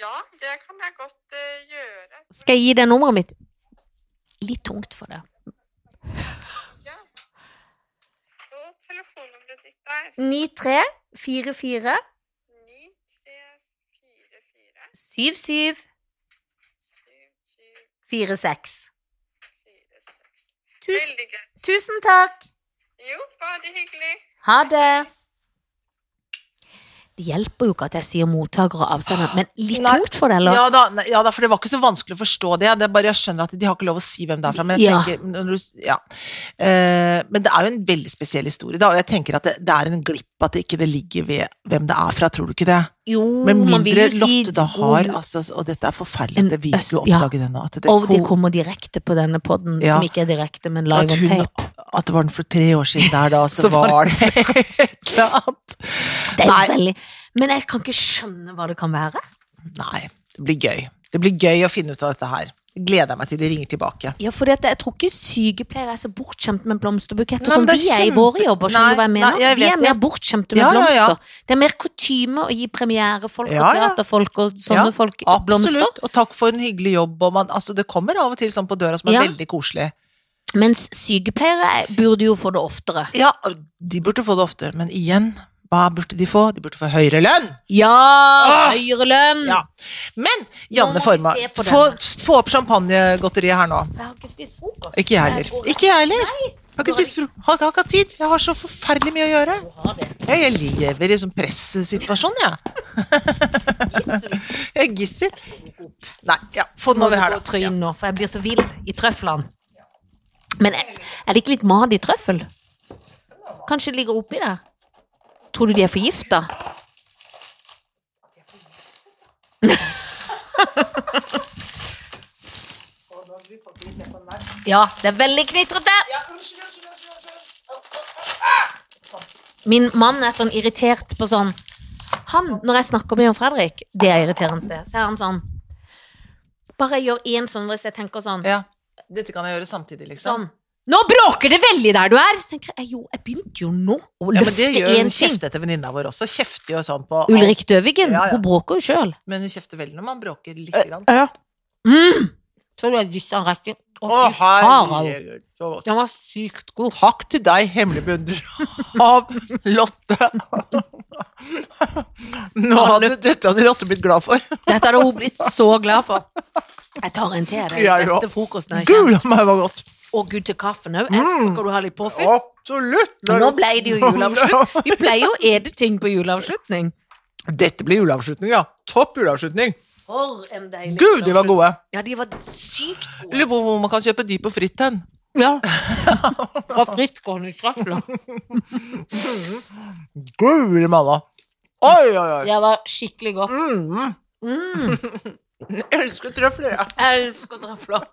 Speaker 3: Ja, det kan jeg godt eh, gjøre.
Speaker 2: Skal jeg gi det nummeret mitt? Litt tungt for det.
Speaker 3: Ja. Og telefonnummeret ditt er
Speaker 2: 9344
Speaker 3: 9344
Speaker 2: 7746.
Speaker 3: 7746.
Speaker 2: Tusen,
Speaker 3: Veldig greit.
Speaker 2: tusen takk!
Speaker 3: Jo, bare hyggelig.
Speaker 2: Ha det! Det hjelper jo ikke at jeg sier mottaker og avsender, men litt
Speaker 1: Nei.
Speaker 2: tungt for det, eller?
Speaker 1: Ja da, nei, ja da, for det var ikke så vanskelig å forstå det. Det er bare Jeg skjønner at de har ikke lov å si hvem det er fra. Men, jeg
Speaker 2: Ja.
Speaker 1: tenker, når du, ja. Eh, men det er jo en veldig spesiell historie, da. Og jeg tenker at det, det er en glipp at det ikke det ligger ved hvem det er fra, tror du ikke det?
Speaker 2: Jo,
Speaker 1: Med
Speaker 2: man vil
Speaker 1: mindre
Speaker 2: jo si
Speaker 1: Lotte da
Speaker 2: god
Speaker 1: har
Speaker 2: jul.
Speaker 1: altså, Og dette er forferdelig,
Speaker 2: En
Speaker 1: det vi skulle
Speaker 2: øst- ja.
Speaker 1: oppdage det nå. At det,
Speaker 2: Og det
Speaker 1: ko-
Speaker 2: kommer direkte på denne podden,
Speaker 1: Ja.
Speaker 2: som ikke er direkte, men live
Speaker 1: at,
Speaker 2: on
Speaker 1: hun,
Speaker 2: tape.
Speaker 1: at det var den for tre år siden der, da, så,
Speaker 2: Så var
Speaker 1: var det et eller annet.
Speaker 2: Det er
Speaker 1: Nei.
Speaker 2: veldig... Men jeg kan ikke skjønne hva det kan være.
Speaker 1: Nei, det blir gøy. Det blir gøy å finne ut av dette her. gleder jeg meg til de ringer tilbake.
Speaker 2: Ja, for jeg tror ikke sykepleiere er så bortskjemt med blomsterbuketter
Speaker 1: Nei,
Speaker 2: som
Speaker 1: men det
Speaker 2: vi
Speaker 1: er
Speaker 2: er i
Speaker 1: kjempe-
Speaker 2: våre jobber. skjønner
Speaker 1: Nei,
Speaker 2: du hva jeg
Speaker 1: nei,
Speaker 2: mener?
Speaker 1: jeg
Speaker 2: vi
Speaker 1: vet
Speaker 2: er mer
Speaker 1: det.
Speaker 2: bortskjemte med
Speaker 1: Ja, ja, ja.
Speaker 2: blomster. Det er mer kutyme å gi premierefolk
Speaker 1: Ja,
Speaker 2: og
Speaker 1: ja.
Speaker 2: teaterfolk og sånne
Speaker 1: Ja,
Speaker 2: folk blomster.
Speaker 1: Absolutt. Og takk for en hyggelig jobb. Og man, altså, det kommer av og til sånn på døra som er
Speaker 2: Ja.
Speaker 1: veldig koselig.
Speaker 2: Mens sykepleiere er- burde jo få det oftere.
Speaker 1: Ja, de burde få det oftere, men igjen, hva burde de få? De burde få høyere lønn!
Speaker 2: Ja!
Speaker 1: Åh!
Speaker 2: Høyere lønn!
Speaker 1: Ah! Ja. Men Janne
Speaker 2: Nå må vi
Speaker 1: Forma,
Speaker 2: se på
Speaker 1: få, få opp champagnegodteriet her nå.
Speaker 2: Jeg har ikke spist frokost.
Speaker 1: Ikke jeg heller. Ikke jeg heller. Jeg har ikke spist fro... Har, har ikke hatt tid. Jeg har så forferdelig mye å gjøre.
Speaker 2: Du har det.
Speaker 1: Jeg, jeg lever i sånn pressituasjon, jeg.
Speaker 2: Gissel.
Speaker 1: Jeg gisser. Nei, ja, få den
Speaker 2: Må du
Speaker 1: over her,
Speaker 2: gå og trå
Speaker 1: da. Ja.
Speaker 2: inn nå, for jeg blir så vill i trøflene. Men er er det ikke litt mat i trøffel? Kanskje det ligger oppi der? Tror du de er forgifta? Ja, det er veldig knitrete! Min mann er sånn irritert på sånn Han, når jeg snakker med Jan Fredrik, det er irriterende sted, så er han sånn Bare gjør én sånn hvis jeg tenker sånn.
Speaker 1: ja. Dette kan jeg gjøre samtidig, liksom.
Speaker 2: Sånn. Nå bråker det veldig der du er! Så tenker jeg jo, jeg begynte jo nå å
Speaker 1: Ja, men det
Speaker 2: løfte
Speaker 1: gjør
Speaker 2: én
Speaker 1: hun
Speaker 2: ting.
Speaker 1: kjeftete venninna vår også. Kjefter jo sånn på alt.
Speaker 2: Ulrik Døvigen,
Speaker 1: Ja, ja.
Speaker 2: hun bråker jo sjøl.
Speaker 1: Men hun kjefter veldig når man bråker lite
Speaker 2: Eh,
Speaker 1: grann.
Speaker 2: Mm. Så du har dyssa resten. Å,
Speaker 1: Å,
Speaker 2: fy Harald.
Speaker 1: herregud. Så godt.
Speaker 2: Den var sykt god.
Speaker 1: Takk til deg, hemmelig beundrer av Lotte. Nå hadde dette hadde Lotte blitt glad for.
Speaker 2: Dette hadde hun blitt så glad for. Jeg tar en til. Det er
Speaker 1: Jeg
Speaker 2: den beste
Speaker 1: òg.
Speaker 2: frokosten jeg har
Speaker 1: Gud,
Speaker 2: kjent.
Speaker 1: det var godt.
Speaker 2: Og gud til kaffen òg. Jeg
Speaker 1: Mm.
Speaker 2: skal du ha litt påfyll.
Speaker 1: Absolutt.
Speaker 2: Men Nå ble det jo juleavslutning. Vi pleier jo å ete ting på juleavslutning.
Speaker 1: Dette blir juleavslutning, ja. Topp juleavslutning.
Speaker 2: For en deilig
Speaker 1: Gud, de var
Speaker 2: juleavslutning.
Speaker 1: gode.
Speaker 2: Ja, de var sykt gode.
Speaker 1: Lurer på hvor man kan kjøpe de på fritt hen.
Speaker 2: Ja. Fra frittgående trøfler.
Speaker 1: Guri malla. Oi, oi, oi.
Speaker 2: Det var skikkelig godt.
Speaker 1: Mm.
Speaker 2: Mm.
Speaker 1: Jeg elsker trøfler, jeg.
Speaker 2: Jeg elsker trøfler.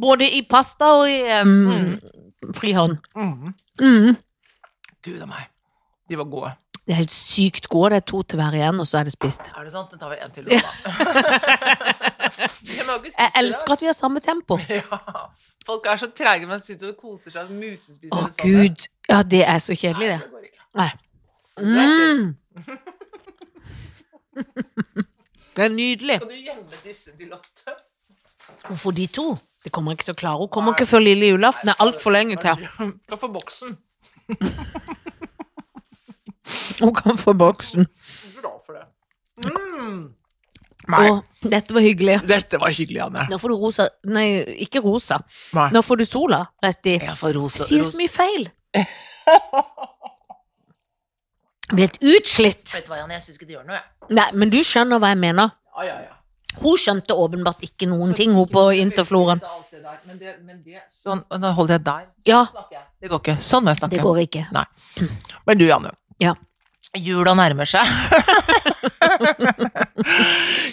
Speaker 2: Både i pasta og i um, frihånd.
Speaker 1: Mm.
Speaker 2: Mm.
Speaker 1: Gud a meg. De var gode.
Speaker 2: Det er helt sykt gode. Det er to til hver igjen, og så er det spist.
Speaker 1: Er det sant? Da tar vi en til. nå, da. Jeg må jo
Speaker 2: Jeg
Speaker 1: ikke spise det, da.
Speaker 2: elsker at vi har samme tempo.
Speaker 1: Ja. Folk er så trege, men sitter og koser seg og musespiser.
Speaker 2: Å,
Speaker 1: eller sånn.
Speaker 2: gud. Ja, det er så kjedelig,
Speaker 1: Nei,
Speaker 2: det.
Speaker 1: går ikke.
Speaker 2: Nei. Mm. Det er nydelig.
Speaker 1: Kan du gjemme disse til Lotte?
Speaker 2: Hvorfor de to? Det kommer jeg ikke til å klare. Hun kommer ikke før lille julaften. Det er altfor lenge til.
Speaker 1: Kan få boksen.
Speaker 2: Hun kan få boksen.
Speaker 1: Bra for det. Mm. Nei,
Speaker 2: Å, dette var hyggelig.
Speaker 1: dette var hyggelig, Anne.
Speaker 2: Nå får du rosa Nei, ikke rosa.
Speaker 1: Nei.
Speaker 2: Nå får du sola rett i.
Speaker 1: Jeg får rose.
Speaker 2: Sier så mye feil. Blitt utslitt.
Speaker 1: Vet du hva, Janne, jeg syns ikke det gjør noe, jeg.
Speaker 2: Nei, men du skjønner hva jeg mener.
Speaker 1: Ja, ja, ja.
Speaker 2: Hun skjønte åpenbart ikke noen ting, hun på Interfloren.
Speaker 1: Alt det der, Men det, men det, sånn, og nå holder jeg der. Sånn
Speaker 2: Ja.
Speaker 1: snakker jeg. Det går ikke. Sånn må jeg
Speaker 2: Det
Speaker 1: snakke.
Speaker 2: går ikke.
Speaker 1: Men du, Janne.
Speaker 2: Ja.
Speaker 1: Jula nærmer seg.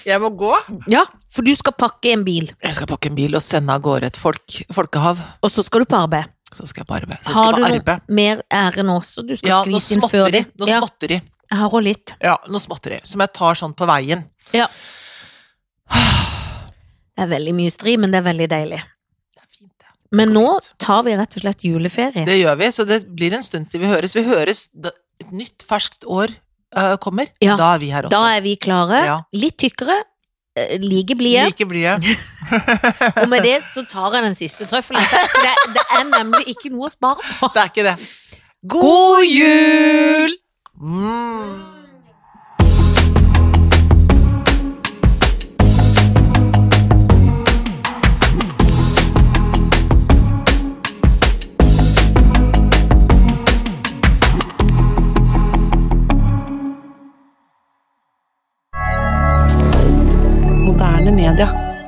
Speaker 1: jeg må gå.
Speaker 2: Ja, for du skal pakke en bil,
Speaker 1: Jeg skal pakke en bil og sende av gårde et folk, folkehav.
Speaker 2: og så skal du på arbeid.
Speaker 1: Så skal jeg på arbeid. Så jeg
Speaker 2: Har
Speaker 1: skal
Speaker 2: du
Speaker 1: på
Speaker 2: noe
Speaker 1: arbeid.
Speaker 2: mer ære nå, så du skal
Speaker 1: Ja, nå
Speaker 2: skvise inn før
Speaker 1: smatter de.
Speaker 2: det?
Speaker 1: Nå
Speaker 2: Ja,
Speaker 1: smatter de.
Speaker 2: jeg har også litt.
Speaker 1: Ja, nå smatter de. Som jeg tar sånn på veien.
Speaker 2: Ja. Det er veldig mye stri, men det er veldig deilig.
Speaker 1: Det er fint, det.
Speaker 2: Men
Speaker 1: går
Speaker 2: nå
Speaker 1: fint.
Speaker 2: tar vi rett og slett juleferie.
Speaker 1: Det gjør vi, så det blir en stund til vi høres. Vi høres da et nytt, ferskt år øh, kommer.
Speaker 2: Ja.
Speaker 1: Da er vi her også.
Speaker 2: Da er vi klare.
Speaker 1: Ja.
Speaker 2: Litt tykkere, eh, like blide.
Speaker 1: Like blide.
Speaker 2: Og med det så tar jeg den siste trøffelen. Det, det- det er nemlig ikke noe å spare på.
Speaker 1: Det er ikke det. God jul! Mm.
Speaker 4: moderne media.